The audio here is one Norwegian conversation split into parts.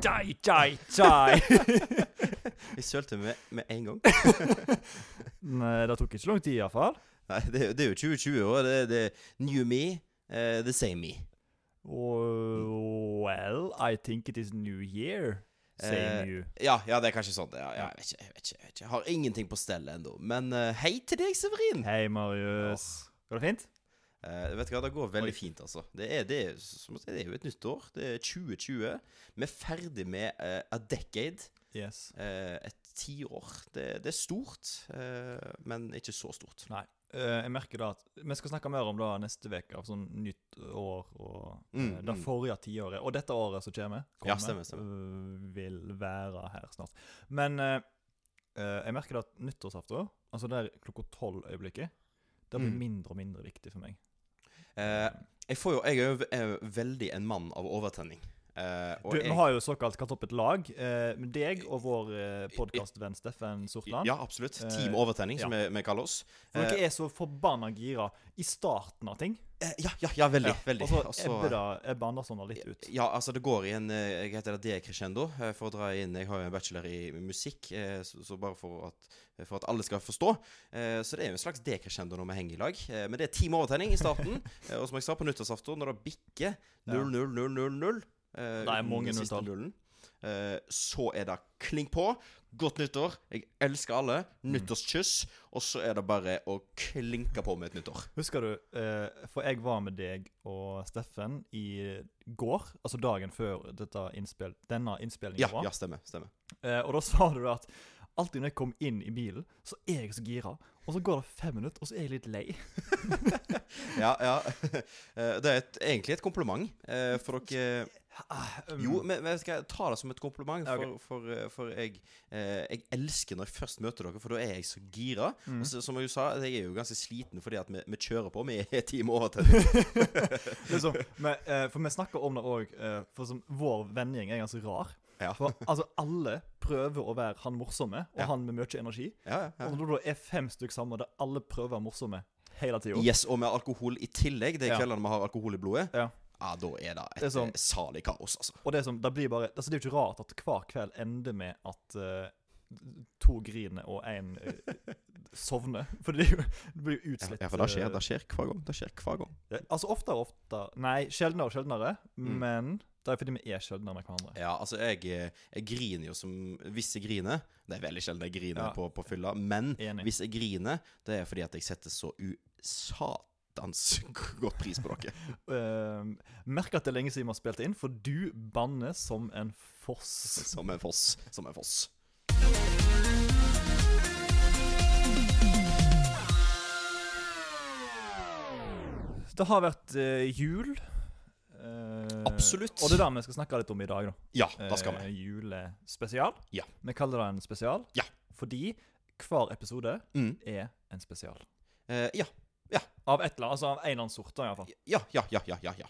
Die, die, die! Vi sølte med, med en gang. Nei, det tok ikke så lang tid, iallfall. Nei, det, er- det er jo 2020 år. Det, det er new me, eh, the same me. Og well, I think it is new year, Eh, same you. Ja, ja, det er kanskje sånn. Ja, ja, jeg, vet ikke, jeg, vet ikke, jeg vet ikke. Jeg har ingenting på stell ennå. Men eh, hei til deg, Severin. Hei, Marius. Går det fint? Eh, vet du hva, Det går Oi. veldig fint, altså. Det er, det, er, som å si, det er jo et nytt år. Det er 2020. Vi er ferdig med eh, a decade. Yes. Eh, et tiår. Det, det er stort, eh, men ikke så stort. Nei. eh, jeg merker da at Vi skal snakke mer om det neste uke, av sånn nytt år og Mm, eh, det mm. forrige tiåret. Og dette året som kommer, Ja, kommer, stemmer, stemmer. eh, vil være her snart. Men eh, eh, jeg merker da at nyttårsaften, altså der klokka tolv-øyeblikket, det blir Mm. mindre og mindre viktig for meg. Eh, jeg, får jo, jeg er jo v- er jo veldig en mann av overtenning. Eh, og Du, jeg, Vi har jo såkalt kalt opp et lag eh, med deg og vår eh, podkastvenn Steffen Sortland. Ja, absolutt. Team Eh, overtenning, som vi, vi kaller oss. For dere er så forbanna gira i starten av ting. Eh, ja, ja, ja, veldig. veldig. Og så Og så- ebber da- ebber Andersson da sånn litt ut. Ja, altså det går i en eh, Jeg heter det decrescendo, eh, for å dra inn Jeg har jo en bachelor i musikk, eh, så så bare for at, for at alle skal forstå. Eh, Så det er jo en slags decrescendo når vi henger i lag. Eh, Men det er time overtenning i starten. eh, Og som jeg sa, på nyttårsaften, når det bikker 0-0-0-0-0 eh, Det er uten mange den siste nulltall. nullen, eh, Så er det kling på. Godt nyttår. Jeg elsker alle. Mm. Nyttårskyss. Og så er det bare å klinke på med et nyttår. Husker du, eh, for jeg var med deg og Steffen i går, altså dagen før dette innspill, denne innspillingen Ja, var, ja, stemmer. stemmer. eh, og da sa du at alltid når jeg kom inn i bilen, så er jeg så gira, og så går det fem minutter, og så er jeg litt lei. Ja, ja. Eh, Det er et, egentlig et kompliment eh, for dere Ah, um, Jo, men, men skal jeg ta det som et kompliment, Ja, for, ok. for, eh, for jeg, eh, jeg elsker når jeg først møter dere, for da er jeg så gira. Mm. Og så, som jeg jo sa, jeg er jo ganske sliten fordi at vi, vi kjører på. Vi er time over til liksom, men, eh, for vi snakker om det òg, eh, for som vår vennegjeng er ganske rar. Ja. For altså, alle prøver å være han morsomme, og Ja. han med mye energi. Ja, ja, ja. Og når det da er fem stykker sammen der alle prøver å være morsomme hele tida. Yes, og med alkohol i tillegg. Det er Ja. kveldene vi har alkohol i blodet. Ja. Ja, da er det et Det er sånn- eh, salig kaos, altså. Og det, som, det, blir bare, altså det er jo ikke rart at hver kveld ender med at eh, to griner og én sovner. For det, er jo, det blir jo utslitt. Ja, for det skjer, eh, det skjer hver gang. Det skjer hver gang. det- Altså oftere og oftere Nei, sjeldnere og sjeldnere. Mm. Men det er fordi vi er sjeldnere med hverandre. Ja, altså jeg, jeg griner jo som Hvis jeg griner Det er veldig sjelden jeg griner Ja. på, på fylla, men Enig. hvis jeg griner, det er fordi at jeg setter så usatans godt pris på dere. Eh, merker at det er lenge siden vi har spilt inn, for du banner som en foss. Som en foss. Som en foss. Det har vært eh, jul. Eh, Absolutt. Og det er det vi skal snakke litt om i dag. da Ja, da skal vi. eh, julespesial. Ja. Vi kaller det en spesial Ja. fordi hver episode Mm. er en spesial. Eh, ja, Av et eller annet, altså av en eller annen sort. da, i hvert fall. ja, ja, ja, ja, ja, ja.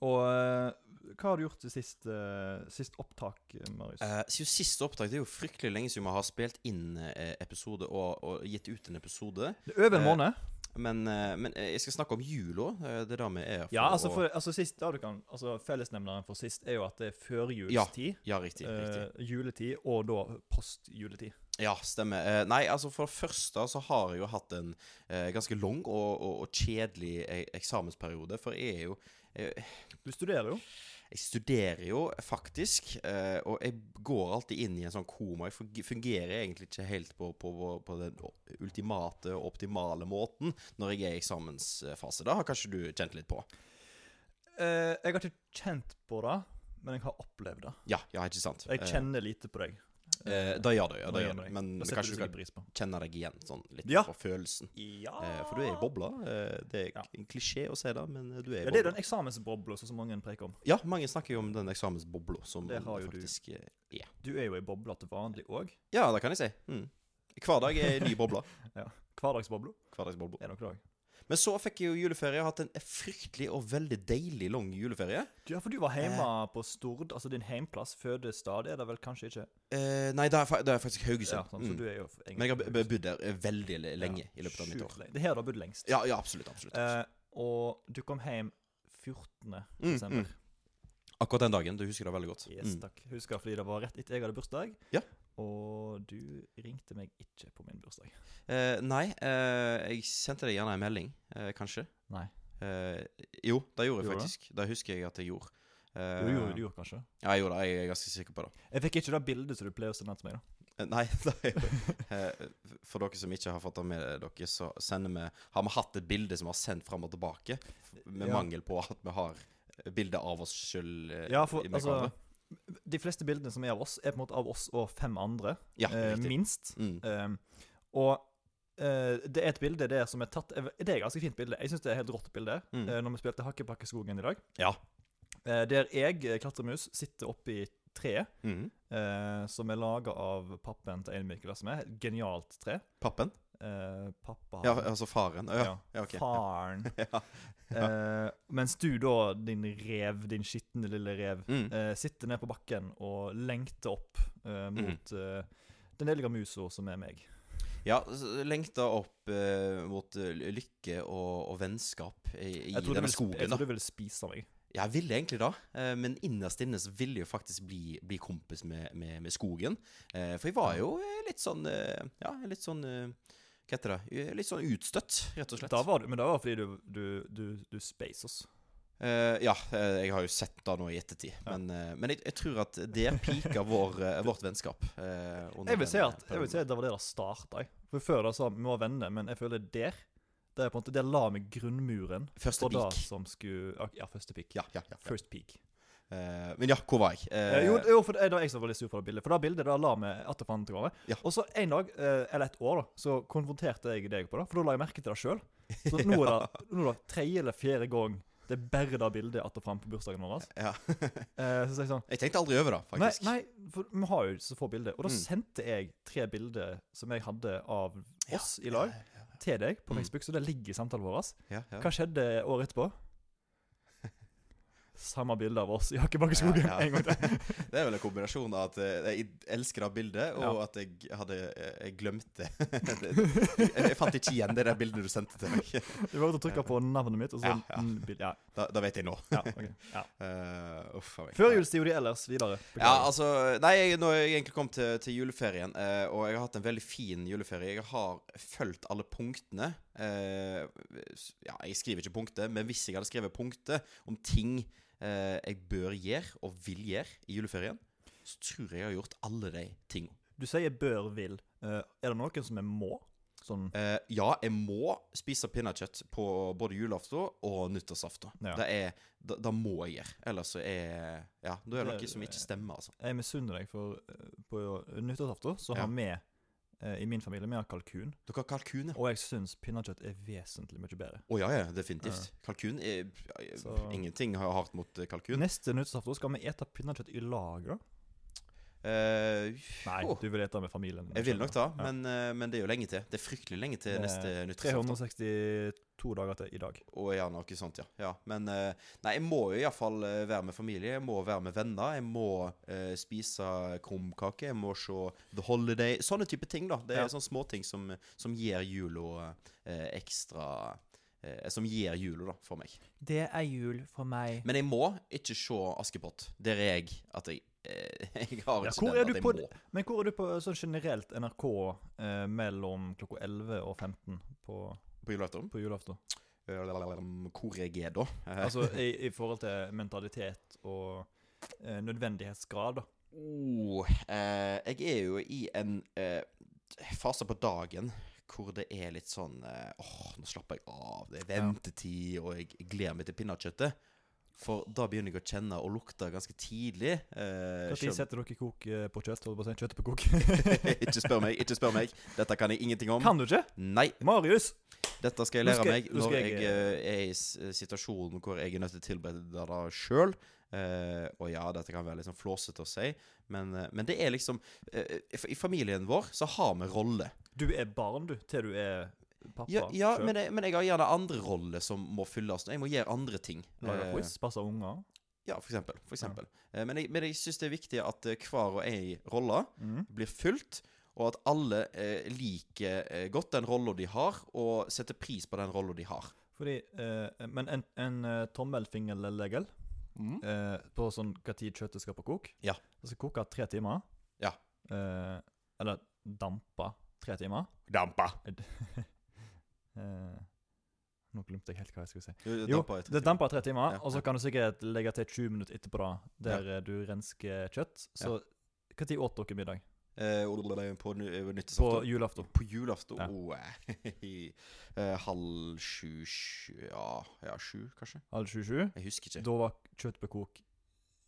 Og eh, hva har du gjort til sist, eh, sist opptak, eh, Marius? Eh, siden siste opptak, det er jo fryktelig lenge siden vi har spilt inn eh, episode og, og gitt ut en episode. Det er over en eh, måned. Men, eh, men eh, jeg skal snakke om jula. eh, Det er det vi er her Ja, for altså, å- for, altså sist, da du kan, altså Fellesnevneren for sist er jo at det er førjulstid, Ja, riktig. riktig. eh, juletid og da postjuletid. Ja, stemmer. Eh, nei, altså for det første så har jeg jo hatt en eh, ganske lang og, og, og kjedelig eh, eksamensperiode. For jeg er jo jeg, Du studerer jo. jeg studerer jo faktisk, eh, og jeg går alltid inn i en sånn koma. Jeg fung- fungerer egentlig ikke helt på, på, på den ultimate og optimale måten når jeg er i eksamensfase. Det har kanskje du kjent litt på? Eh, jeg har ikke kjent på det, men jeg har opplevd det. Ja, ja, ikke sant? Jeg kjenner lite på deg. Eh, eh, det gjør du, Eh, ja, Nå det gjør gjør du. jeg. Men Det setter kanskje du du kan sikkert pris på. kjenne deg igjen sånn litt Ja. på følelsen. Ja. Eh, for du Ah. er i bobla. Eh, det er Ja. en klisjé å si det, men eh, du er i Ja, det er den eksamensbobla som så mange preker om. Ja, mange snakker jo om den eksamensbobla som Det det har jo du. faktisk eh, er. Du er jo i bobla til vanlig òg. Ja, det kan jeg si. Mm. Hver dag er en ny boble. Hverdagsbobla Hverdagsboble. er nok det òg. Men så fikk jeg jo juleferie. Jeg har hatt en fryktelig og veldig deilig lang juleferie. Ja, for du var hjemme Eh. på Stord, altså din heimplass. Fødestad er det vel kanskje ikke? Eh, nei, det er, fa- det er faktisk Ja, Haugesund. sant, så mm. du er jo egentlig Men jeg har b- b- bodd der eh, veldig le- lenge Ja, i løpet av mitt sjukt år. lenge. Eh. Det er her du har bodd lengst. Ja, ja absolutt. absolutt. Eh, og du kom hjem 14. Mm, desember. Akkurat den dagen. Du husker det veldig godt. Yes, Mm. takk. Husker fordi det var rett etter jeg hadde bursdag. Ja. Og du ringte meg ikke på min bursdag. Eh, nei, eh, jeg sendte deg gjerne en melding, eh, kanskje. Nei. Eh, jo, det gjorde jeg Gjorde du? faktisk. Det husker jeg at jeg gjorde. Du Eh, gjorde du gjorde kanskje? Ja, jeg gjorde det. Jeg er ganske sikker på det. Jeg fikk ikke det bildet som du pleier å sende til meg. da. Eh, Nei, det er jo eh, For dere som ikke har fått det med dere, så sender vi Har vi hatt et bilde som vi har sendt fram og tilbake, med Ja. mangel på at vi har bilde av oss eh, sjøl Ja, for altså De fleste bildene som er av oss, er på en måte av oss og fem andre, Ja, eh, riktig. minst. Mm. Um, og eh, det er et bilde der som er tatt Det er et ganske fint bilde. Jeg syns det er et helt rått bilde. Mm. eh, når vi spilte Hakkebakkeskogen i dag. Ja. Eh, der jeg, eh, klatremus, sitter oppi treet Mm. eh, som er laga av pappen til Einar Mikael Asme. Et Genialt tre. Pappen? Eh, pappa Ja, altså faren. Ja, ja ok. Faren. Ja. Eh, mens du da, din rev, din skitne lille rev, Mm. eh, sitter ned på bakken og lengter opp eh, mot eh, den elige musa som er meg. Ja, s- lengta opp eh, mot eh, lykke og, og vennskap i, i Jeg tror, du denne vil, sp- jeg tror skogen. da. du vil spise meg. Ja, Jeg ville egentlig det, eh, men innerst inne så ville jeg jo faktisk bli, bli kompis med, med, med skogen. Eh, For jeg var jo eh, litt sånn eh, Ja, litt sånn eh, Hva heter det? Eh, Litt sånn utstøtt, rett og slett. Da var du, men da var det fordi du, du, du, du space oss. Eh, ja, eh, jeg har jo sett det nå i ettertid. Men, eh, men jeg, jeg tror at det pika vår, eh, vårt vennskap. eh, under Jeg vil si den, at, eh, jeg vil si at det var det det starta i. For Før da sa vi vi var venner, men jeg føler der Der, på en måte, der la vi grunnmuren perioden. Første for det peak. som skulle Ja, første peak. Ja, ja, ja. ja. First peak. Eh, men ja, hvor var jeg? Eh, Eh, jo, jo, for det var jeg som var litt sur på det bildet. For det bildet da la vi atter fanden til hverandre. Ja. Og så en dag, eh, eller et år, da, så konfronterte jeg deg på det. For da la jeg merke til det sjøl. Så nå er det, nå er det tredje eller fjerde gang det er bare det bildet atter fram på bursdagen vår. altså. ja. Eh, så sier jeg sånn Jeg tenkte aldri over det, Nei, faktisk. nei, for vi har jo så få bilder. Og da Mm. sendte jeg tre bilder som jeg hadde av Ja, oss i lag, Ja, ja, til deg på Mm. Facebook, så det ligger i samtalen vår. ja, ja. Hva skjedde året etterpå? Samme bilde av oss i Hakkebakkeskogen Ja, ja. en gang til. Det er vel en kombinasjon av at eh, jeg elsker det bildet, og Ja. at jeg hadde eh, Jeg glemte Jeg jeg fant ikke igjen det der bildet du sendte til meg. Du var ute og trykka på navnet mitt, og så Ja, ja, ja. ja. Da, da vet jeg nå. ja, ok, ja. Eh, uff a meg. Før julstio de ellers videre. Ja, altså Nei, jeg, nå har jeg egentlig kommet til, til juleferien, eh, og jeg har hatt en veldig fin juleferie. Jeg har fulgt alle punktene. eh, s- ja, jeg skriver ikke punkter, men hvis jeg hadde skrevet punkter om ting eh, jeg bør gjøre og vil gjøre i juleferien, så tror jeg jeg har gjort alle de tingene. Du sier bør, vil. Eh, er det noen som er må? Sånn Eh, ja, jeg må spise pinnekjøtt på både julaften og nyttårsaften. Ja. Det er, da, da må jeg gjøre. Ellers så er Ja, da er det Det- noe som ikke stemmer, altså. Jeg misunner deg, for eh, på nyttårsaften så Ja. har vi eh, i min familie vi har kalkun. Dere har kalkun, ja. Å Og jeg syns pinnekjøtt er vesentlig mye bedre. ja, ja, definitivt. Kalkun er ja, ja, Så- Ingenting har hardt mot eh, kalkun. Neste nyttårsaften skal vi ete pinnekjøtt i lag, da? Eh, Nei, jo, du vil ete med familien. jeg vil nok det, Ja. men, eh, men det er jo lenge til. Det er fryktelig lenge til Det er neste nyttårsaften. 362 dager til i dag. Og ja, noe sånt, ja. ja. Men eh, nei, jeg må jo iallfall eh, være med familie. Jeg må være med venner. Jeg må eh, spise krumkake. Jeg må se The Holiday. Sånne type ting, da. Det er Ja. sånne småting som, som gir jula eh, ekstra eh, Som gir jula, da, for meg. Det er jul for meg. Men jeg må ikke se Askepott. Der er jeg at jeg eh, Jeg har Ja, ikke hvor er den du at jeg på må. Men hvor er du på sånn generelt NRK eh, mellom klokka 11 og 15 på, På julaften. på julaften? Eh, Hvor jeg er da. Eh, Altså i, i forhold til mentalitet og eh, nødvendighetsgrad, da. Oh, eh, jeg er jo i en eh, fase på dagen hvor det er litt sånn eh, Åh, nå slapper jeg av. Det er Ja. ventetid, og jeg gleder meg til pinnekjøttet. For da begynner jeg å kjenne og lukte ganske tidlig. Eh, Når selv- setter dere kok eh, på kjøtt? Holdt på å si kjøttet på kok. ikke spør meg, ikke spør meg. Dette kan jeg ingenting om. Kan du ikke? Nei, Marius! dette skal jeg Nå lære skal- meg nå skal når jeg, jeg- eh, er i s- situasjonen hvor jeg er nødt til å tilberede det sjøl. Eh, og ja, dette kan være litt sånn flåsete å si, men, eh, men det er liksom eh, I familien vår så har vi roller. Du er barn, du, til du er pappa. Ja, ja selv. men, jeg, men jeg har gjerne andre roller som må fylles. Jeg må gjøre andre ting. Lager Eh, quiz, passer unger. ja, for eksempel. For eksempel. Eh, men jeg, men jeg syns det er viktig at eh, hver og ei rolle Mm. blir fylt, og at alle eh, liker eh, godt den rolla de har, og setter pris på den rolla de har. Fordi, eh, Men en, en eh, tommelfingerlegel Mm. eh, på sånn hva tid kjøttet skal på kok. Ja. Det skal koke tre timer. Ja. Eh, eller dampe tre timer. Dampa. Eh, nå glemte jeg helt hva jeg skulle si. Jo, Dampa det damper tre timer, Ja. og så kan du sikkert legge til 20 minutter etterpå da, der eh, du rensker kjøtt. Så hva tid åt dere middag? på ny- eh, På nyttårsaften. julaften? På julaften? Ja. Oh, eh, eh, halv sju, sju ja, ja, sju, kanskje? Halv sju-sju? Jeg husker ikke. Da var kjøtt på kok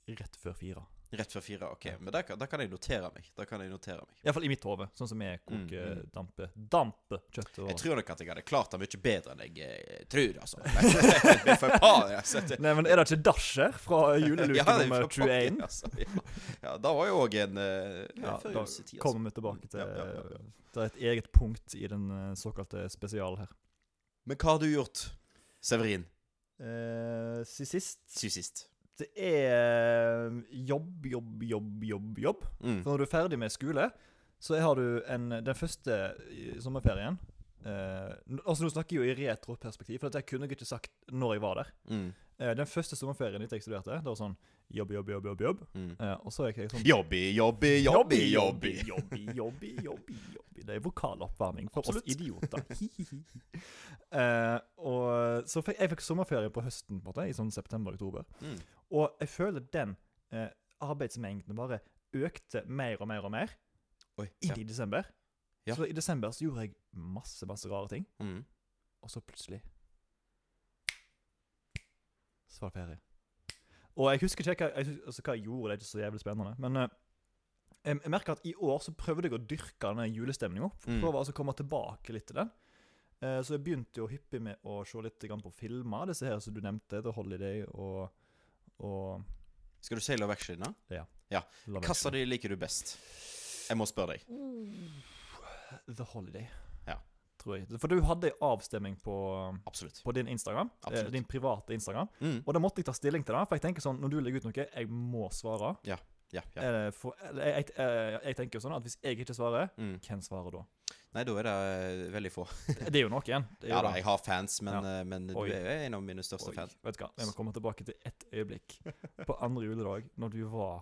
rett før fire. Rett før fire. OK. Men der, kan- der kan jeg notere meg. Der kan jeg notere meg. Iallfall i mitt hode, sånn som jeg Mm, koker mm. dampe, dampe kjøttet. Jeg over. tror nok at jeg hadde klart det mye bedre enn jeg eh, tror, altså. Det er for faen, altså. Det- Nei, men er det ikke Dash her fra juleluke Ja, det er nummer for pokker, 21? altså. Ja. ja, da var jo òg en eh, Ja, før da juletid, altså. kommer vi tilbake til Ja, ja, ja, ja. Det er et eget punkt i den eh, såkalte spesial her. Men hva har du gjort, Severin, Eh, sist siden sist? Det er eh, jobb, jobb, jobb, jobb, jobb. Mm. For når du er ferdig med skole, så har du en, den første i sommerferien eh, n- Altså Nå snakker jeg jo i retroperspektiv, for dette kunne jeg ikke sagt når jeg var der. Mm. Eh, den første sommerferien etter jeg studerte, det var sånn jobb, jobb, jobb, jobb. jobb. Mm. Eh, og så gikk jeg sånn Jobbi, jobbi, jobbi, jobbi. jobbi, jobbi, jobbi, jobbi. Det er vokaloppvarming for Absolutt. oss idioter. Hi, hi, hi. Eh, og så fikk jeg fikk sommerferie på høsten, på en måte, i sånn september-oktober. Mm. Og jeg føler den eh, arbeidsmengden bare økte mer og mer og mer Oi. inn Ja. i desember. Ja. Så i desember så gjorde jeg masse, masse rare ting, Mm. og så plutselig Så var det ferie. Og jeg husker ikke hva jeg, hus- altså, hva jeg gjorde, det er ikke så jævlig spennende, men eh, jeg, jeg merker at i år så prøvde jeg å dyrke den julestemninga. Mm. Prøve altså å komme tilbake litt til den. Eh, så jeg begynte jo hyppig med å se litt grann på filmer, disse her som du nevnte, The Holiday og, og Skal du si Love Actually nå? Love Hva av de liker du best? Jeg må spørre deg. Actually. Uh, The Holiday. Ja. Tror jeg. For du hadde en avstemning på, Absolutt. på din Instagram. eh, Absolutt. Din private Instagram. Mm. Og da måtte jeg ta stilling til det. For jeg tenker sånn, når du legger ut noe, jeg må svare. Ja, ja. Eh, For, eller jeg, jeg, eh, jeg tenker jo sånn at hvis jeg ikke svarer, Mm. hvem svarer da? Nei, da er det eh, veldig få. Det er jo noe igjen. Det er Ja jo da, det. jeg har fans, men, eh, men du Oi. er jo en av mine største Oi, fans. vet du hva, jeg må komme tilbake til ett øyeblikk. På andre juledag, når du var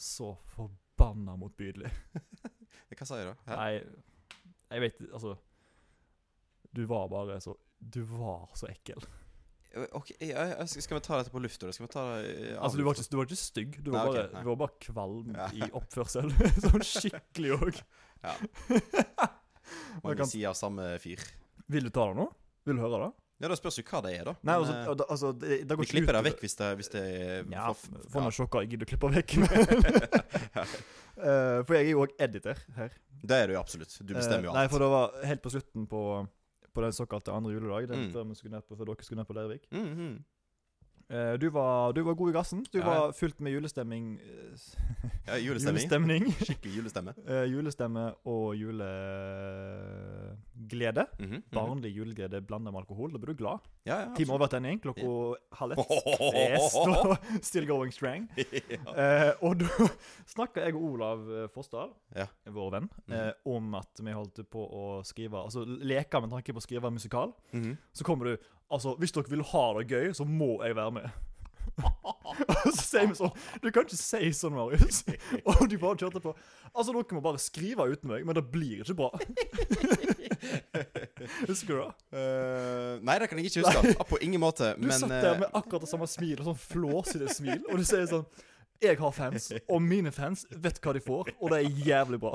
så forbanna motbydelig. Eh, Hva sa jeg da? Hæ? Nei, jeg vet Altså Du var bare så Du var så ekkel. Eh, Ok, ja, ja, skal skal vi ta dette på lufta? da? Skal vi ta det eh, av Altså, du var lufta? ikke, du var ikke stygg, du Nei, var, ok, bare, nei. du var bare kvalm Ja. i oppførsel. sånn skikkelig òg. Ja. Jeg kan- Mange sier samme fyr. Vil du ta det nå? Vil du høre det? Ja, Da spørs jo hva det er, da. Nei, Men, altså, eh, og da- altså det, det går Vi ikke klipper det utover- vekk hvis det, hvis det er Ja, for- for ja. noe sjokka jeg gidder å klippe vekk. Eh, for jeg er jo òg editor her. Det er du absolutt. Du bestemmer jo Eh, Nei, alt. for det var helt på slutten på, på den såkalte andre juledag, den Mm. før, vi skulle ned på, før dere skulle ned på Leirvik. Mm, mm. Eh, du, var, du var god i gassen. Du Ja, ja. var fylt med julestemming eh, s- Ja, julestemme. Julestemning. Skikkelig julestemme. Eh, julestemme og juleglede. Mhm, mhm. Barnlig juleglede blanda med alkohol. Da blir du glad. Ja, ja, Time absolutt. over tenning, klokka halv ett. Yes, Ja. da, still going strong. Eh, og da snakka jeg og Olav eh, Fossdal, Ja. vår venn, eh, om at vi holdt på å skrive Altså leke med tanke på å skrive en musikal. Mhm. Så kommer du Altså, hvis dere vil ha det gøy, så må jeg være med. og så sier vi sånn Du kan ikke si sånn, Marius. og du bare kjørte på. Altså, dere må bare skrive uten meg, men det blir ikke bra. Husker du det? Eh, nei, det kan jeg ikke huske. Ah, På ingen måte. Du men satt der eh, med akkurat det samme smilet, sånn flåsete smil, og du sier sånn Jeg har fans, og mine fans vet hva de får, og det er jævlig bra.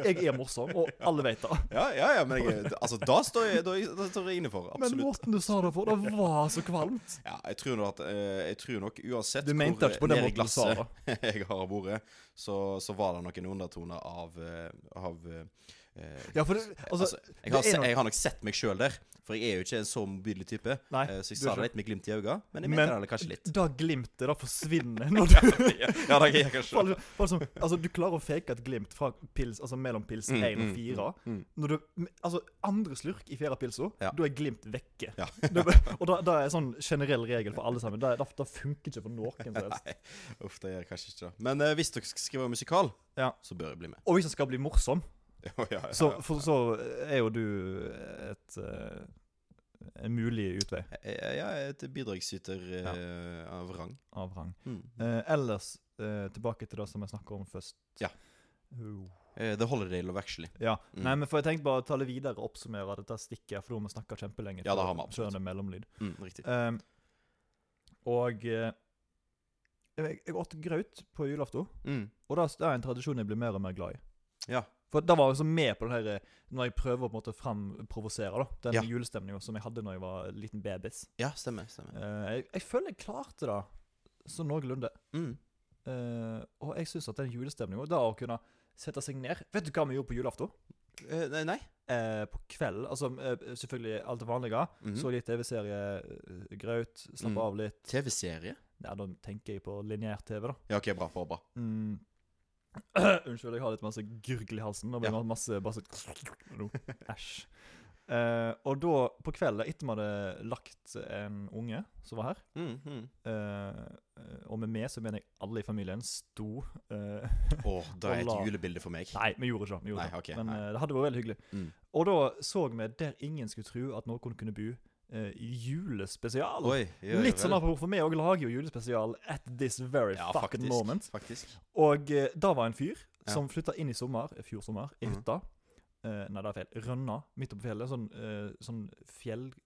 Jeg er morsom, og alle vet det. ja, ja, ja, men jeg, altså, da står jeg, da, da står jeg inne for. Men Absolutt. måten du sa det på, det var så kvalmt. Ja, jeg tror nok, at, eh, jeg tror nok uansett Du mente ikke på den nede i måten du sa det. jeg har vært, så, så var det noen undertoner av, eh, av eh, Ja, for det, altså, Altså, jeg, har det er se, nok- jeg har nok sett meg sjøl der, for jeg er jo ikke en så mobil type. Nei, eh, så jeg du er ikke. sa det litt med glimt i øynene, men jeg Men- mente det kanskje litt. da glimtet da forsvinner når du ja, det er jeg kanskje. Bare- bare som- altså, du klarer å fake et glimt fra pils, altså mellom pils Mm, 1 og mm, 4. mm. Når du, altså, andre slurk i fjerde pilsa, Ja. da er glimt vekke. Ja. Det er- og da, da er sånn generell regel for alle sammen. Da, da, da funker ikke for noen som helst. Nei, uff, det gjør jeg kanskje ikke. da. Men eh, hvis dere skal skrive musikal, Ja. så bør jeg bli med. Og hvis det skal bli morsom, ja, ja, ja. så, for, så er jo du et eh, en mulig utvei Eh, Ja, et bidragsyter eh, av rang. av rang. Mm. Eh, ellers, eh, tilbake til det som jeg snakka om først. Ja. Oh. Eh, The Holiday Love, actually. Ja, Mm. nei, men for jeg tenkte bare å ta det videre og oppsummere dette stikket, for nå har vi snakka kjempelenge. Ja, det før- har vi absolutt. før det er mellomlyd. Mm, riktig. Ehm, og eh, jeg, jeg åt graut på julaften, Mm. og det det er en tradisjon jeg blir mer og mer glad i. Ja. For da var jeg liksom med på den her, når jeg prøver å på en måte fremprovosere da, den Ja. julestemninga som jeg hadde når jeg var liten babys. ja, stemmer. stemmer. Eh, jeg, jeg føler jeg klarte det sånn noenlunde. Mm. Eh, og jeg syns at den julestemninga, det å kunne sette seg ned Vet du hva vi gjorde på julaften? Eh, nei, nei. Eh, på kvelden, altså eh, selvfølgelig alt det vanlige. Mhm. Så litt TV-serie, eh, graut, slappe Mm. av litt. TV-serie? Ja, da tenker jeg på lineær-TV, da. Ja, OK, bra. bra, bra. Mm. Unnskyld, jeg har litt masse gurgel i halsen. Da blir Ja. det masse bare sånn Nå, Æsj. Eh, og da, på kvelden, etter vi hadde lagt en unge som var her Mm, mm. eh, Og med meg så mener jeg alle i familien sto eh, Åh, det er Wallah. et julebilde for meg. Nei, vi gjorde ikke det. vi gjorde Nei, ikke ok, det. Men nei. eh, det hadde vært veldig hyggelig. Mm. Og da så vi Der ingen skulle tro at noen kunne bo, eh, julespesial. Oi, ja, ja, Litt vel. sånn apropos, for meg òg lager jo julespesial at this very Ja, fucking faktisk, moment. Faktisk. Og eh, da var en fyr Ja. som flytta inn i sommer, i fjor sommer, i Mhm. hytta. Eh, nei, det er feil. Rønna, midt oppe på fjellet. Sånn, eh, sånn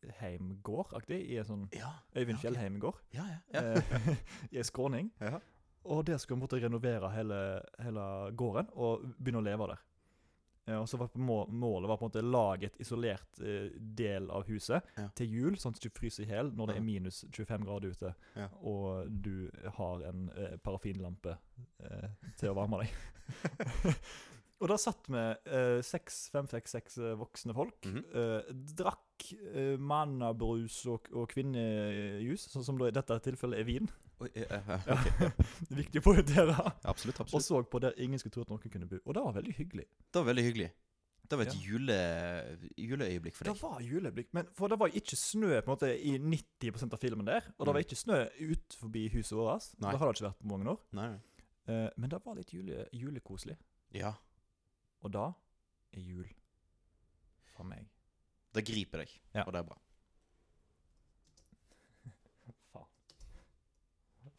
fjellheimgård-aktig. I en sånn Ja, Øyvind Ja, ok. Fjellheimgård. ja, ja. ja. eh, I en skråning. Ja. Og der skulle han måtte renovere hele, hele gården og begynne å leve der. Eh, og så var på må- Målet var på en måte lage et isolert eh, del av huset Ja. til jul, sånn at du fryser i hjel når det Ja. er minus 25 grader ute, Ja. og du har en eh, parafinlampe eh, til å varme deg. og da satt vi eh, seks, fem, seks, seks eh, voksne folk, Mhm. eh, drakk eh, mannabrus og, og kvinnejus, sånn som da i dette tilfellet er vin. Oi, ja, ja, ja. Ja. Viktig å poengtere. Absolutt. Og absolutt. så på der ingen skulle tro at noen kunne bo. Og det var veldig hyggelig. Det var veldig hyggelig. Det var et Ja. jule, juleøyeblikk for Det deg. var juleblikk, men for det var ikke snø på en måte i 90 av filmen der. Og det Mm. var ikke snø ut forbi huset vårt. Nei. Det har det ikke vært på mange år. Nei, nei. Eh, men det var litt jule, julekoselig. Ja, Og da er jul for meg. det griper deg, Ja. og det er bra. Faen.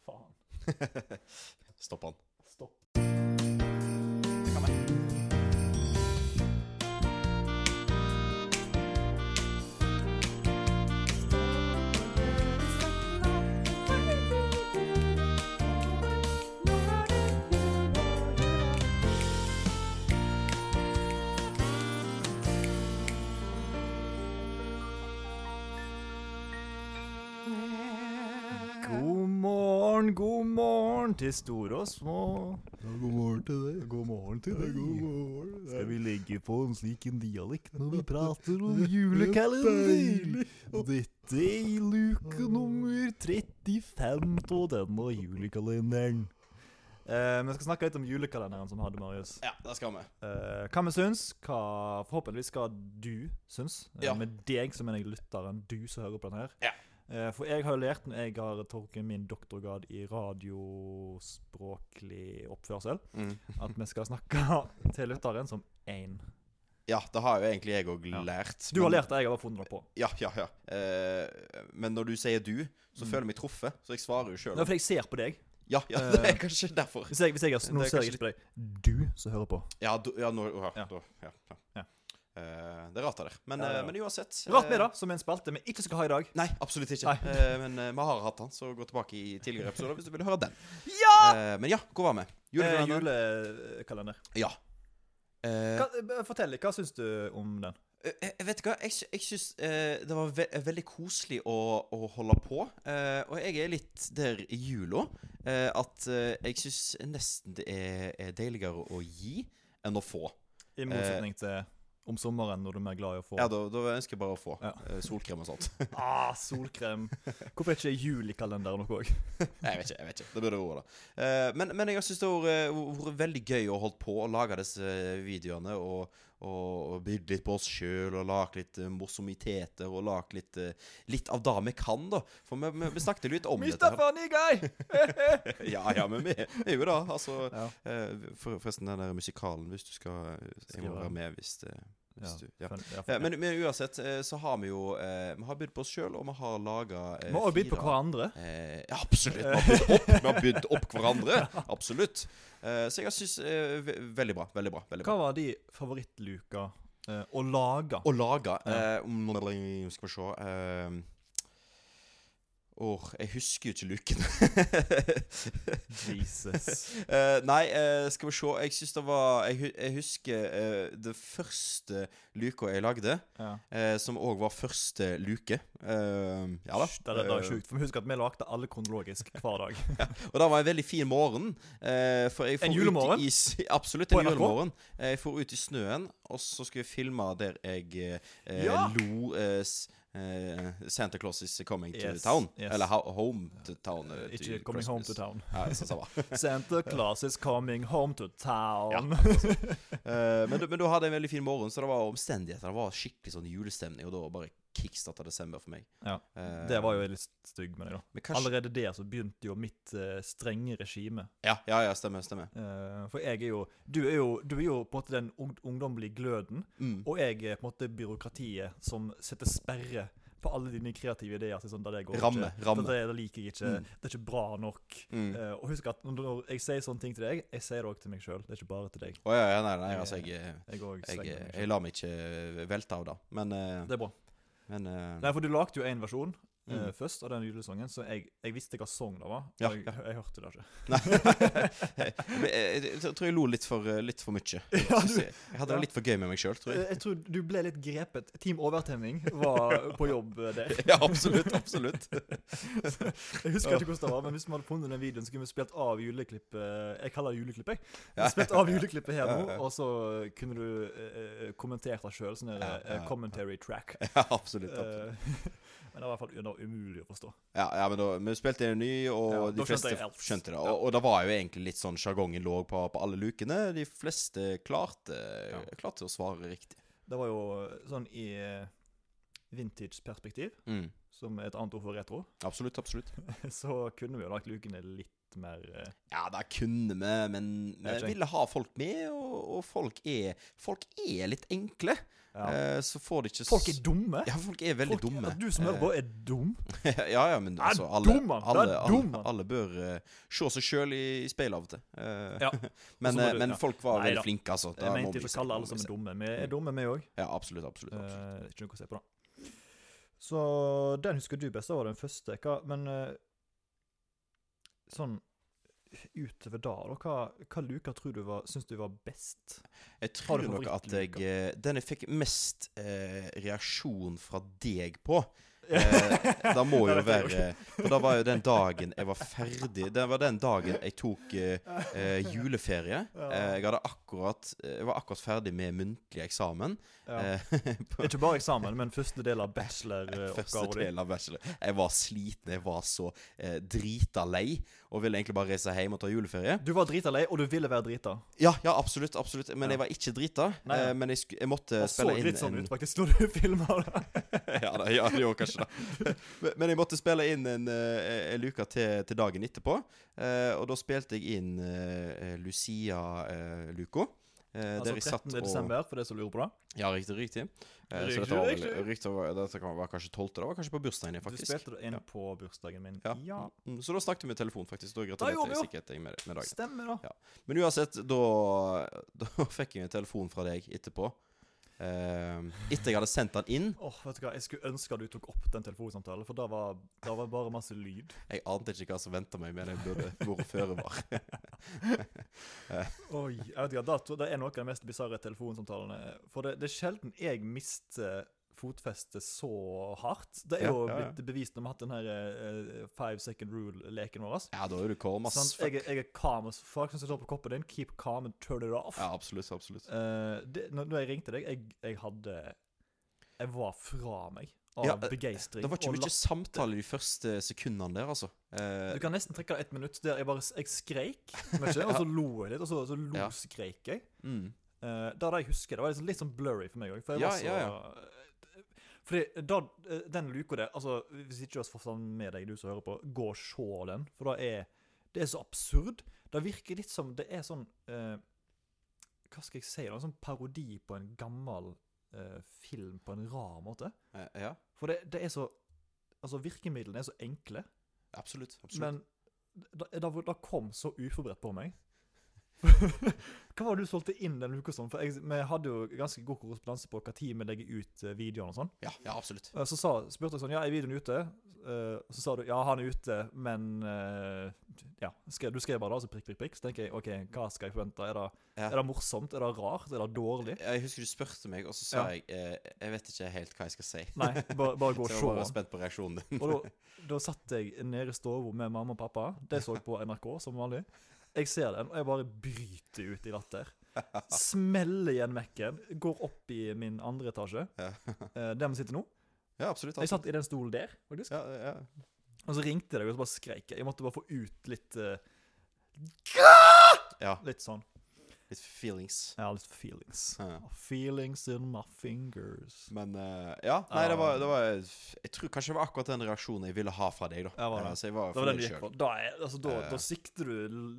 Faen. Stopp han. Stopp. God morgen, god morgen til store og små. God morgen til deg. God morgen til morgen. legge på en slik en dialekt når vi prater Dette er luke nummer 35 av denne julekalenderen. Eh, vi skal snakke litt om julekalenderen som vi hadde, Marius. Ja, der skal vi. Eh, hva vi syns, hva forhåpentligvis skal du syns. Eh, Ja. Med deg som mener jeg lytteren, du som hører på den her. Ja. Eh, for jeg har jo lært, når jeg har tolket min doktorgrad i radiospråklig oppførsel, Mm. at vi skal snakke til lytteren som én. Ja, det har jo egentlig jeg òg Ja. lært. Du har men- lært det, jeg har bare funnet det på. Ja, ja, ja. Eh, men når du sier du, så Mm. føler jeg meg truffet, så jeg svarer jo Det sjøl. er fordi jeg ser på deg. Ja, ja, Eh, det er kanskje derfor. Hvis jeg, hvis jeg, har- nå Det er ser jeg ikke på deg. Du som hører på. Ja, du, ja, nå, ja, Ja. da- ja, ja. Ja. Eh, det er rart det der. Men, Ja, ja, eh, ja. men uansett Rart eh, med det, som er en spalte vi ikke skal ha i dag. Nei, absolutt ikke. Nei. Eh, men eh, vi har hatt han, så gå tilbake i tidligere episoder hvis du vil høre den. Ja! Eh, men ja, hvor var vi? Ah! Eh, Julekalender. Julekalender. ja. Eh, Hva, eh, fortell, hva syns du om den? Eh, eh, vet du hva, jeg, sy- jeg syns eh, det var ve veldig koselig å, å holde på. Eh, og jeg er litt der i jula eh, at eh, jeg syns nesten det er, er deiligere å gi enn å få. I motsetning til om sommeren, når du er mer glad i å få Eh. Ja, da, da ønsker jeg bare å få Ja. eh, solkrem og sånt. ah, solkrem. Hvorfor er ikke julikalender noe òg? Nei, jeg vet ikke. jeg vet ikke, Det burde vært det. Eh, men, men jeg syns det har vært- eh, vært veldig gøy å holde på og lage disse eh, videoene. Og, og, og bygd litt på oss sjøl og lage litt eh, morsomiteter og lage litt, eh, litt av det vi kan, da. For vi, vi, vi snakket litt om dette. her Mr. Funny Guy! Ja, ja, men vi vi er jo da Altså Ja. eh, for, Forresten, den der musikalen, hvis du skal eh, Jeg må Skrive være den. med hvis det Hvis Ja, du, ja. Fun- ja, Ja, fun- men, men uansett eh, så har vi jo eh, Vi har bydd på oss sjøl, og vi har laga eh, Vi har også bitt på fire- hverandre. Eh, ja, absolutt. Vi har bydd opp, vi har bydd opp hverandre. Absolutt. Eh, så jeg syns eh, ve- Veldig bra. Veldig bra. veldig bra. Hva var de favorittluka eh, å lage? Og laga eh, om- Skal vi se eh, Åh, jeg husker jo ikke looken. Jesus. Eh, nei, eh, skal vi se. Jeg syns det var Jeg, hu- jeg husker eh, det første luka jeg lagde, Ja. eh, som òg var første luke. Eh, ja da. Hysj, Det, det, det er Eh, sjukt. For husk at vi lagde alle kronologisk hver dag. Og det var en veldig fin morgen. Eh, for jeg for En julemorgen? Ut i, s- absolutt. På En NRK? julemorgen. Eh, Jeg for ut i snøen, og så skulle jeg filme der jeg eh, Ja! lo eh, s- eh, Santa Claus is coming Yes, to town. yes. Eller ho home to town. eh, to Ikke Coming Home to Christmas. Town. Ja, jeg synes det var. Santa Claus is coming home to town. Eh, men, du- men da hadde jeg en veldig fin morgen, så det var omstendigheter. Det var skikkelig sånn julestemning, og da bare kickstarta desember for meg. Ja, Eh, Det var jo litt stygg med det, da. men kanskje, Allerede der så begynte jo mitt eh, strenge regime. ja, ja, ja, stemmer. stemmer. Eh, for jeg er jo du, er jo du er jo på en måte den ung, ungdommelige gløden, Mm. og jeg er på en måte byråkratiet som setter sperre på alle dine kreative ideer. Så sånn, det der går Ramme, ikke. ramme. Det, det liker jeg ikke. Mm. Det er ikke bra nok. Mm. Eh, og husk at når, når jeg sier sånne ting til deg, jeg sier det òg til meg sjøl. Det er ikke bare til deg. Å ja, ja, nei, nei, altså, jeg eh, Jeg, er også streng Jeg, med meg eh, jeg selv. lar meg ikke velte av det, men, eh, Det er bra. men eh, Nei, for du lagde jo en versjon eh, Mm. først av den julesangen, så jeg, jeg visste hva sang det var. og Ja, jeg, ja. jeg, hørte det ikke. Nei. eh, jeg, jeg, jeg tror jeg lo litt for, eh, litt for mye. du- jeg hadde det litt for gøy med meg sjøl, tror Eh, jeg. Jeg tror du ble litt grepet. Team Overtenning var på jobb eh, der. Ja, absolutt. absolutt Jeg husker ikke hvordan det var, men hvis vi hadde funnet den videoen, så kunne vi spilt av juleklippet Jeg kaller det juleklipp, jeg. Ja. Spilt av juleklippet her Ja, nå, ja. og så kunne du eh, eh, kommentert det sjøl. Sånn der, Ja, eh, ja. commentary track. Ja, absolutt, absolutt. Eh, Men det var i hvert fall det var umulig å forstå. Ja, ja, men da, vi spilte en ny, og Ja, da de skjønte fleste jeg alt. skjønte det. Og, og det var jo egentlig litt sånn sjargongen lå på, på alle lukene. De fleste klarte, Ja. klarte å svare riktig. Det var jo eh, sånn i eh, vintage-perspektiv, Mm. som er et annet ord for retro. Absolutt, absolutt. så kunne vi jo lagt lukene litt mer eh, Ja, det kunne vi, men vi vet ikke. ville ha folk med, og, og folk, er, folk er litt enkle. ja. Eh, så får de ikke s- Folk er dumme! Ja, folk er veldig Folk- dumme. At du som hører på, er dum. Eh, ja, ja, men Er altså, alle, dum, han. Det er alle, dum, alle, han. alle bør eh, se seg sjøl i, i speilet av og til. Eh, Ja. men, Og så må eh, du- men ja. folk var Nei veldig da. flinke, altså. Da Jeg må mente vi ikke å si- kalle må alle vi som si. er dumme. Vi er dumme, vi òg. Ja, absolutt, absolutt. absolutt. Eh, Ikke noe å se på, da. Så den husker du best. Det var den første. Hva, men eh, sånn utover da, da hva, hva luker tror du var, syns du var best? Jeg Eh, Har tror du nok at jeg favorittluka? eh, Den jeg fikk mest eh, reaksjon fra deg på, Eh, Da da må jo vet jeg være eh, For da var jo den dagen jeg var ferdig Det var den dagen jeg tok eh, eh, juleferie. Ja. Eh, jeg, hadde akkurat, eh, jeg var akkurat ferdig med muntlig eksamen. Ja. Eh, på- Ikke bare eksamen, men første del av Første bacheloroppgaven din. del av bachelor. Jeg var sliten, jeg var så eh, drita lei og ville egentlig bare reise hjem og ta juleferie. Du var drita lei, og du ville være drita. Ja, ja, absolutt, absolutt. Men Ja. jeg var ikke drita. Nei, ja. eh, men jeg, sku, jeg måtte Han så spille inn litt sånn en- Eh, ut faktisk når du filma det. ja, det, ja, det gjorde kanskje det. Men- Men jeg måtte spille inn en, eh, en luke til, til dagen etterpå. eh, og da spilte jeg inn eh, Lucia-luka. eh, Altså 13. desember, for det som lurer på det. Ja, riktig. riktig. Eh, så Riktig, dette var, riktig. vel, riktig var, dette kan- var kanskje 12. Det var kanskje på bursdagen din, Du faktisk. spilte det inn Ja. på bursdagen min. Ja. Ja. Mm, Så da snakket vi i telefon, faktisk. Da gjorde gratulerte vi jeg jo. sikkert deg med, med dagen. Stemmer, da. Ja. Men uansett, da, da fikk jeg en telefon fra deg etterpå. Ehm, etter jeg hadde sendt den inn. Åh, vet du hva, Jeg skulle ønske at du tok opp den telefonsamtalen, for da var, da var bare masse lyd. Jeg ante ikke hva som venta meg, men jeg burde vært føre var. Oi, jeg vet ikke, da, tror- Det er noe av de mest bisarre telefonsamtalene. For det, det er sjelden jeg mister fotfestet så hardt. Det er Ja, jo ja, ja. blitt bevist når vi har hatt den her eh, five second rule-leken vår. ass. Ja, da er du kål, ass. Sant? Sånn, jeg, er- jeg er calm as fuck, Sånn som står på koppen din. Keep calm and turn it off. Ja, absolutt. absolutt. Eh, det, når, når jeg ringte deg, jeg, jeg hadde Jeg var fra meg av Ja, eh, begeistring. Det var ikke og mye latter. samtale de første sekundene der, altså. Eh, Du kan nesten trekke et minutt der jeg bare s- jeg skreik, mye, og så lo jeg litt, og så, så lo Ja. skreik jeg. mm. Eh, det er det jeg husker. Det var liksom litt sånn blurry for meg òg. For jeg Ja, var så ja, Fordi da, eh, den luka der altså Hvis ikke du har fått den med deg, du som hører på, gå og se den. For det er, det er så absurd. Det virker litt som Det er sånn eh, Hva skal jeg si? Det er en sånn parodi på en gammel eh, film på en rar måte. Eh, ja, For det, det er så Altså, virkemidlene er så enkle, absolutt. absolutt. men det, det, det kom så uforberedt på meg. Hva var det du solgte inn den uka sånn? For jeg, vi hadde jo ganske god korrespondanse på hva tid vi legger ut eh, videoene og sånn. ja, ja, absolutt. Eh, Så sa, spurte jeg sånn Ja, er videoen ute? Eh, så sa du ja, han er ute, men eh, Ja. Skrev, du skrev bare da, så prikk, prikk, prikk. Så tenker jeg OK, hva skal jeg forvente? Er det, Ja. er det morsomt? Er det rart? Er det dårlig? Jeg husker du spurte meg, og så sa jeg eh, Jeg vet ikke helt hva jeg skal si. Nei, bare, bare gå Så og jeg se. var bare den. spent på reaksjonen din. Og da, da satt jeg nede i stua med mamma og pappa. De så på NRK, som vanlig. Jeg ser den, og jeg bare bryter ut i latter. Smeller igjen Mac-en, går opp i min andre etasje, Ja. eh, der vi sitter nå. Ja, absolutt. Jeg absolutt. satt i den stolen der, faktisk. Ja, ja. Og så ringte jeg, og så bare skreik jeg. Jeg måtte bare få ut litt eh, ja, Litt sånn. litt feelings. Jeg har litt feelings. Ja. Feelings in my fingers. Men eh, ja, nei, det var, det var Jeg tror kanskje det var akkurat den reaksjonen jeg ville ha fra deg, da. Ja, var det. Eh, Så jeg var Det var den du fornøyd gikk selv. for. Da, er, altså, da, Ja. da sikter du l-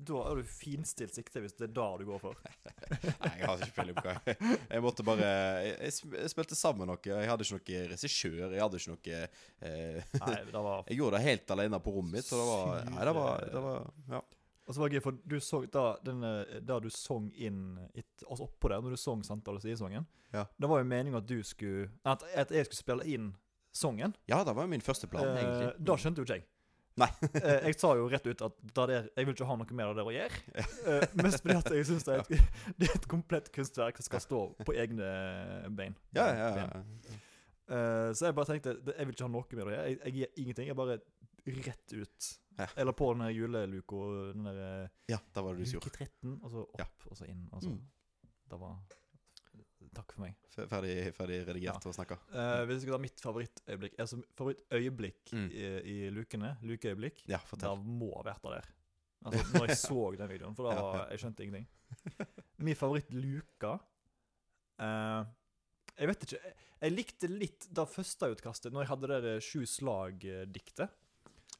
Da har du finstilt sikte hvis det er det du går for. Nei, jeg hadde ikke peiling på hva jeg Jeg måtte bare jeg, jeg sp- jeg spilte sammen noe. Jeg hadde ikke noe regissør. Jeg hadde ikke noe eh, Nei, det var Jeg gjorde det helt alene på rommet mitt, så det var Nei, det var, det var Ja. Og så var det gøy, for du så da, den, eh, der du sang inn et, altså oppå der, når du sang Santa Lucia-sangen Ja. Det var jo meninga at du skulle at, at jeg skulle spille inn sangen. ja, det var jo min første plan, Eh, egentlig. da skjønte jo ikke jeg. Nei. eh, jeg sa jo rett ut at det der, jeg vil ikke ha noe med det der å gjøre. Eh, mest fordi at jeg syns det, er et- det er et komplett kunstverk som skal stå på egne bein. Ja, ja, Ben. ja. Eh, så jeg bare tenkte det- jeg vil ikke ha noe med det å gjøre. Jeg, jeg gir ingenting. Jeg bare rett ut. Ja. Eller på den her juleluka, den der eh, ja det var det du som luke gjorde. 13, og så opp, Ja. og så inn. Og så. Mm. Det var Takk for meg. F- Ferdig, ferdig redigert og snakka. Eh, hvis jeg skal ta mitt favorittøyeblikk Altså favorittøyeblikk Mm. i, i lukene, lukeøyeblikk Ja, Det fortell. må ha vært der. Altså, når jeg så den videoen, for da Ja, var, ja. jeg skjønte ingenting. Min favoritt Luka eh, Jeg vet ikke. Jeg, jeg likte litt det første utkastet, når jeg hadde det der eh, sju slag-diktet.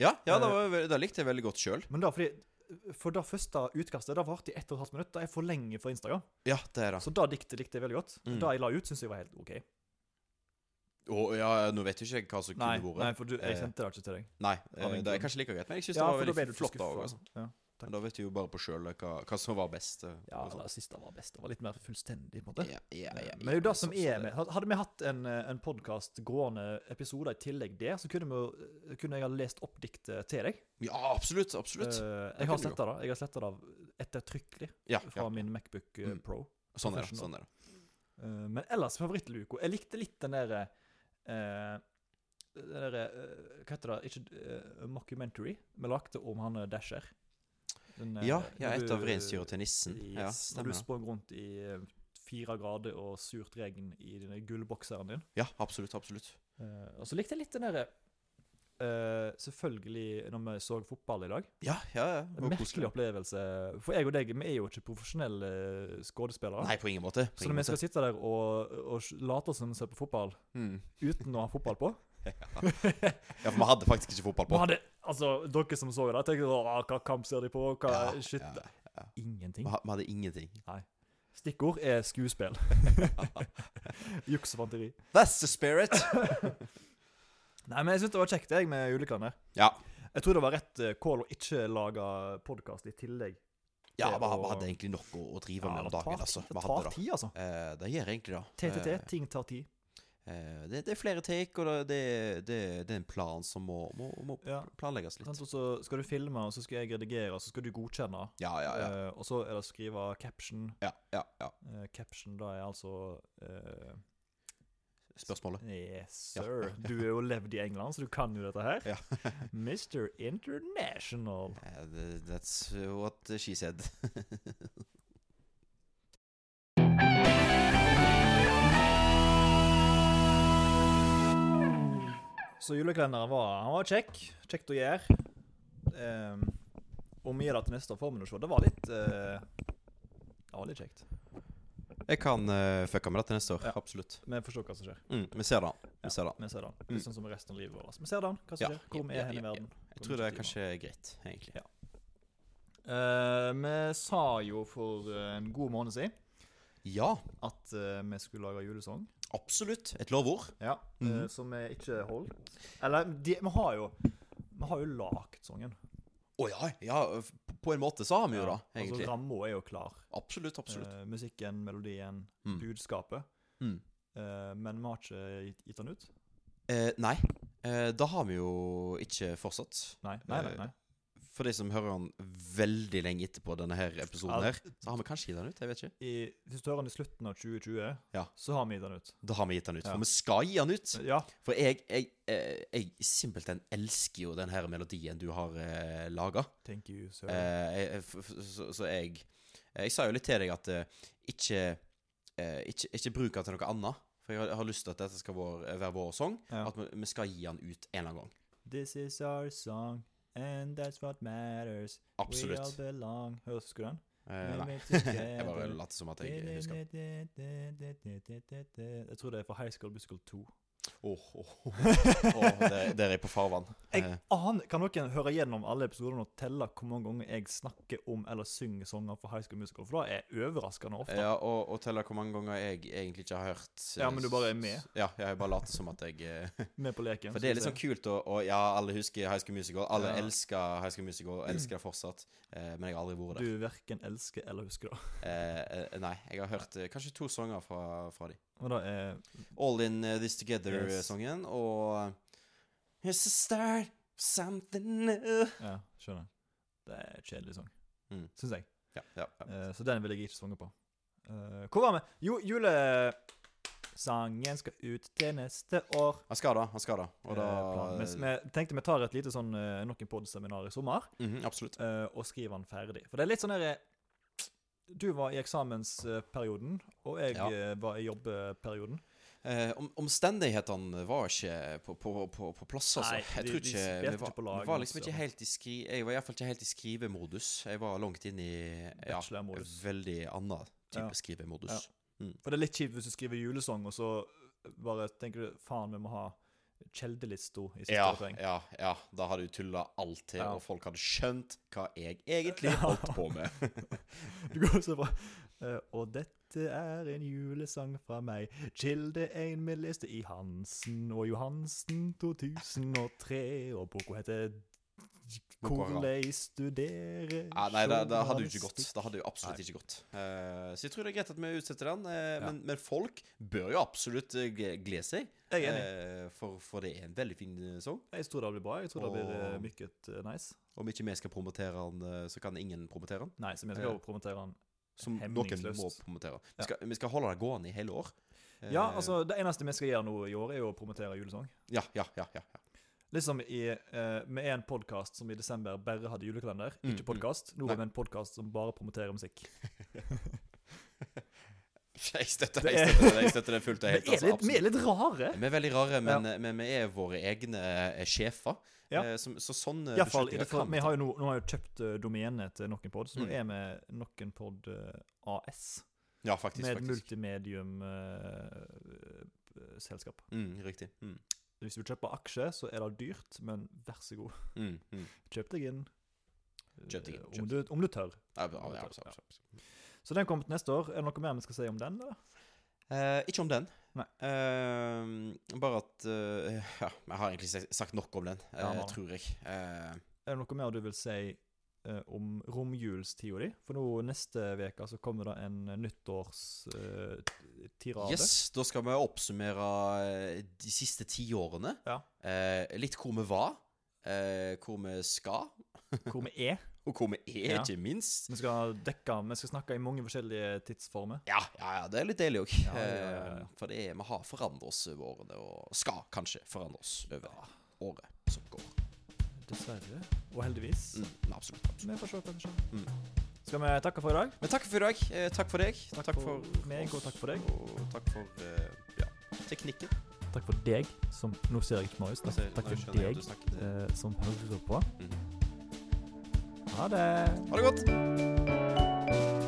Ja, ja det, var, Eh. ve- det likte jeg veldig godt sjøl. Men da fordi For det første utkastet det varte i ett og et halvt minutt. Det er for lenge for Instagram. Ja, det er det. Så det diktet likte jeg veldig godt. Mm. Det jeg la ut, syns jeg var helt OK. Å, ja, nå vet jeg ikke hva som Nei, kunne nei vært. for du, Eh, jeg sendte det ikke til deg. Nei, av en eh, det er grunn. kanskje like greit, men jeg syns Ja, for det da ble var du veldig ikke flott. Da, skuffet, også, altså. Ja. Men da vet du jo bare på sjøl hva, hva som var best. eh, Ja, og sånt. det siste var best. Det var litt mer fullstendig, på en måte. Eh, Ja, ja, ja, Men det er jo ja, det som sånn er med had- Hadde vi hatt en, eh, en podkast gående episoder i tillegg der, så kunne, vi, jo- eh, kunne jeg ha lest opp diktet til deg. Ja, absolutt. Eh, Absolutt. Det jeg har kunne du sletta det. Jeg har sletta det ettertrykkelig ja, fra ja. min Macbook eh, Mm. Pro. Sånn er det. professional. Sånn er det. Eh, men ellers favorittluko. Jeg likte litt den derre eh, den derre eh, Hva heter det? Ikke eh, mockumentary vi lagde om han eh, Dasher. Den, eh, Ja, når ja et du- av reinsdyra til nissen. Ja, Yes, når stemmer du det. sprang rundt i eh, fire grader og surt regn i denne gullbokseren din. Ja, absolutt. Absolutt. Eh, og så likte jeg litt den derre eh, Selvfølgelig, når vi så fotball i dag Ja, ja, ja. det En var merkelig koselig. opplevelse. For jeg og deg vi er jo ikke profesjonelle eh, skuespillere. Nei, på ingen måte. På så ingen når vi måte. skal sitte der og, og s- late som vi ser på fotball Mm. uten å ha fotball på Ja, for vi hadde faktisk ikke fotball Vi på. hadde, altså, Dere som så det, tenkte sånn, «Åh, hva kamp ser de på? Hva, Ja, shit. ja, ja. Vi Ingenting. ha- vi hadde ingenting. Stikkord er skuespill. Juks og fanteri. That's the spirit! Nei, men jeg syns det var kjekt, jeg, med juleklandet. Ja, Jeg tror det var rett eh, kål å ikke lage podkast i tillegg. ja Det vi, vi og- hadde egentlig nok å, å drive med Ja, om det tar, dagen, tid- altså. Vi det hadde tar det. tid, altså. Eh, det gjør egentlig det. TTT, Eh, ting tar tid. eh, det, det er flere take, og det, det, det er en plan som må, må, må Ja. planlegges litt. Sant, og Sånn så skal du filme, og så skal jeg redigere, og så skal du godkjenne. Ja, ja, ja. Eh, og så er det å skrive caption. ja, ja, ja. Eh, caption da er altså eh, Spørsmålet? Yes, Ja. sir. Du er jo levd i England, så du kan jo dette her. Ja. Mr. International. Eh, th- that's what she said. Så julekalenderen var, han var kjekk. Kjekt å gjøre. Um, og vi gjør det til neste år, får vi nå se. Det var litt eh, Det var litt kjekt. Jeg kan eh, fucke med det til neste år. Ja. Absolutt. Vi får se hva som skjer. Mm, vi ser det. Ja, Vi ser det. Vi ser den. Mm. Litt sånn som resten av livet vårt. Vi ser den, hva som Ja, skjer, hvor vi ja, er hen ja, i ja. verden. Jeg tror det er kanskje greit, egentlig. Eh, vi sa jo for eh, en god måned siden Ja, at eh, vi skulle lage julesang. absolutt. Et lovord. Ja, eh, Mhm. Som vi ikke holdt. Eller de, vi har jo Vi har jo lagd sangen. Å ja, ja. f- På en måte så har vi jo det, altså, egentlig. Ramma er jo klar. Absolutt, absolutt. Eh, musikken, melodien, Mm. budskapet. Mm. Eh, men vi har ikke gitt, gitt den ut. Eh, nei, eh, da har vi jo ikke fortsatt. Nei, Eh, nei, nei. nei. For de som hører den veldig lenge etterpå denne her episoden Ja. her, så har vi kanskje gitt den ut. jeg vet ikke. I, hvis du hører den i slutten av 2020, Ja. så har vi gitt den ut. Da har vi gitt den ut. Ja. For vi skal gi den ut. Ja, For jeg, jeg, eh, jeg simpelthen elsker jo den her melodien du har eh, laga. thank you, sir. Eh, jeg- jeg- f- f- så, så jeg Jeg sa jo litt til deg at eh, ikke, eh, ikke Ikke bruk den til noe annet. For jeg har, jeg har lyst til at dette skal vår, være vår sang. Ja. At vi, vi skal gi den ut en eller annen gang. This is our song, and that's what matters. We all Absolutt. belong. Høres husker du den? Eh, we nei. were Jeg bare together. lot som at jeg husker den. Jeg tror det er fra High School Musical 2. Åh, åh, åh. Åh, der, der er jeg på farvann. Eh, Jeg aner, kan noen høre gjennom alle episodene og telle hvor mange ganger jeg snakker om eller synger sanger fra High School Musical? For det er overraskende ofte. Ja, og, og telle hvor mange ganger jeg egentlig ikke har hørt eh, Ja, men du bare er med. s- Ja, jeg bare later som at jeg eh, Med på leken. For det er litt skal vi sånn kult, og, og ja, alle husker High School Musical. Alle Ja. elsker High School Musical, og elsker det fortsatt, eh, men jeg har aldri se. vært der. Du verken elsker eller husker det. Eh, eh, nei, jeg har hørt eh, kanskje to sanger fra, fra de. Men det er All In eh, This Yes. Together-sangen og eh, It's a start of something new. Ja, skjønner. Det er en kjedelig sang. Mm. Syns jeg. Ja, ja, ja. Eh, så den vil jeg ikke synge på. Eh, hvor var vi? Jo, julesangen skal ut til neste år. Han skal det, han skal det. Og da Eh, planen. Mens vi tenkte vi tar et lite sånn eh, nok en podseminar i sommer, Mhm, Absolutt. eh, og skriver den ferdig. For det er litt sånn derre Du var i eksamensperioden, og jeg Ja. eh, var i jobbperioden. Eh, om, omstendighetene var ikke på, på, på, på plass, altså. Nei, jeg de- tror de ikke, spilte vi var, ikke på lag, Vi var liksom altså. ikke helt i skri, jeg var iallfall ikke helt i skrivemodus. Jeg var langt inn i ja, Bachelormodus. veldig annen type Ja. skrivemodus. Ja. For det er litt kjipt hvis du skriver julesang, og så bare tenker du faen, vi må ha kjeldelista i siste Ja, refreng. ja, ja. Da hadde du tulla alt til, Ja. og folk hadde skjønt hva jeg egentlig holdt på med. Du går så bra. Eh, og dette er en julesang fra meg. Kilde en med liste i Hansen og Johansen 2003. Og boka heter Boka har- 'Korlei studere Ja, nei, det, det hadde jo ikke gått. Det hadde jo absolutt Nei. ikke gått. Eh, så jeg tror det er greit at vi utsetter den. eh, Ja. men, men folk bør jo absolutt eh, gle- glede seg, Jeg er enig. eh, for, for det er en veldig fin eh, sang. Jeg tror det blir bra. Jeg tror det blir eh, Og- mykket eh, nice. Om ikke vi skal promotere den, eh, så kan ingen promotere den. Nei, som jeg skal promotere den. Som noen Hemningsløst. må Ja. promotere. Vi skal, vi skal holde det gående i hele år. Eh, Ja, altså, det eneste vi skal gjøre nå i år, er jo å promotere julesang. Ja, ja, ja. ja, ja. Liksom i, eh, med en podkast som i desember bare hadde julekalender. Mm, Ikke podkast. Nå Nei. har vi en podkast som bare promoterer musikk. Jeg støtter det, Det er- jeg støtter det, jeg støtter det fullt og Vi helt. er, litt, altså, vi absolutt. er litt rare. vi er veldig rare, men, men vi er våre egne eh, sjefer. Ja. Eh, som, så sånne I hvert fall, i beslutninger det for, kan vi ta. har jo nå, nå har jeg jo kjøpt uh, domenet til Nokkenpod, så nå Mm. er vi Nokkenpod eh, AS. Ja, faktisk. Med et faktisk. multimedium-selskap. Mm, riktig. Mm. Hvis du kjøper aksjer, så er det dyrt, men vær så god, Mm, mm. kjøp deg inn. Kjøp deg inn, Eh, kjøp Om, du, om du tør. Ja, ja, ja, absolutt, absolutt. Så den kommer til neste år. Er det noe mer vi skal si om den? eller? Eh, ikke om den. Nei. Eh, bare at eh, Ja, jeg har egentlig sagt- sagt nok om den, eh, Ja, man. tror jeg. Eh, Er det noe mer du vil si eh, om romjulstida di? For nå neste uke så kommer det en eh, nyttårstirade. Yes, da skal vi oppsummere eh, de siste ti årene. Ja. Eh, litt hvor vi var, eh, hvor vi skal, Hvor vi er. og hvor vi er, Ja. ikke minst. Vi skal dekke, vi skal snakke i mange forskjellige tidsformer. Ja, ja, ja, det er litt deilig òg. Ja, ja, ja, ja. For det er, vi har forandret oss over årene, og skal kanskje forandre oss over året som går. Dessverre. Og heldigvis. Mm, absolutt. absolutt. Vi får se hva som skjer. Skal vi takke for i dag? Men takk for i dag. Eh, takk for deg. Takk for meg, og takk for deg. Og takk for eh, ja, teknikken. Takk for deg som Nå ser jeg ikke Marius. Takk, Altså, takk nå for skjønner jeg at deg du Mm. snakket. eh, som hører på. Mhm. Ha det. Ha det godt.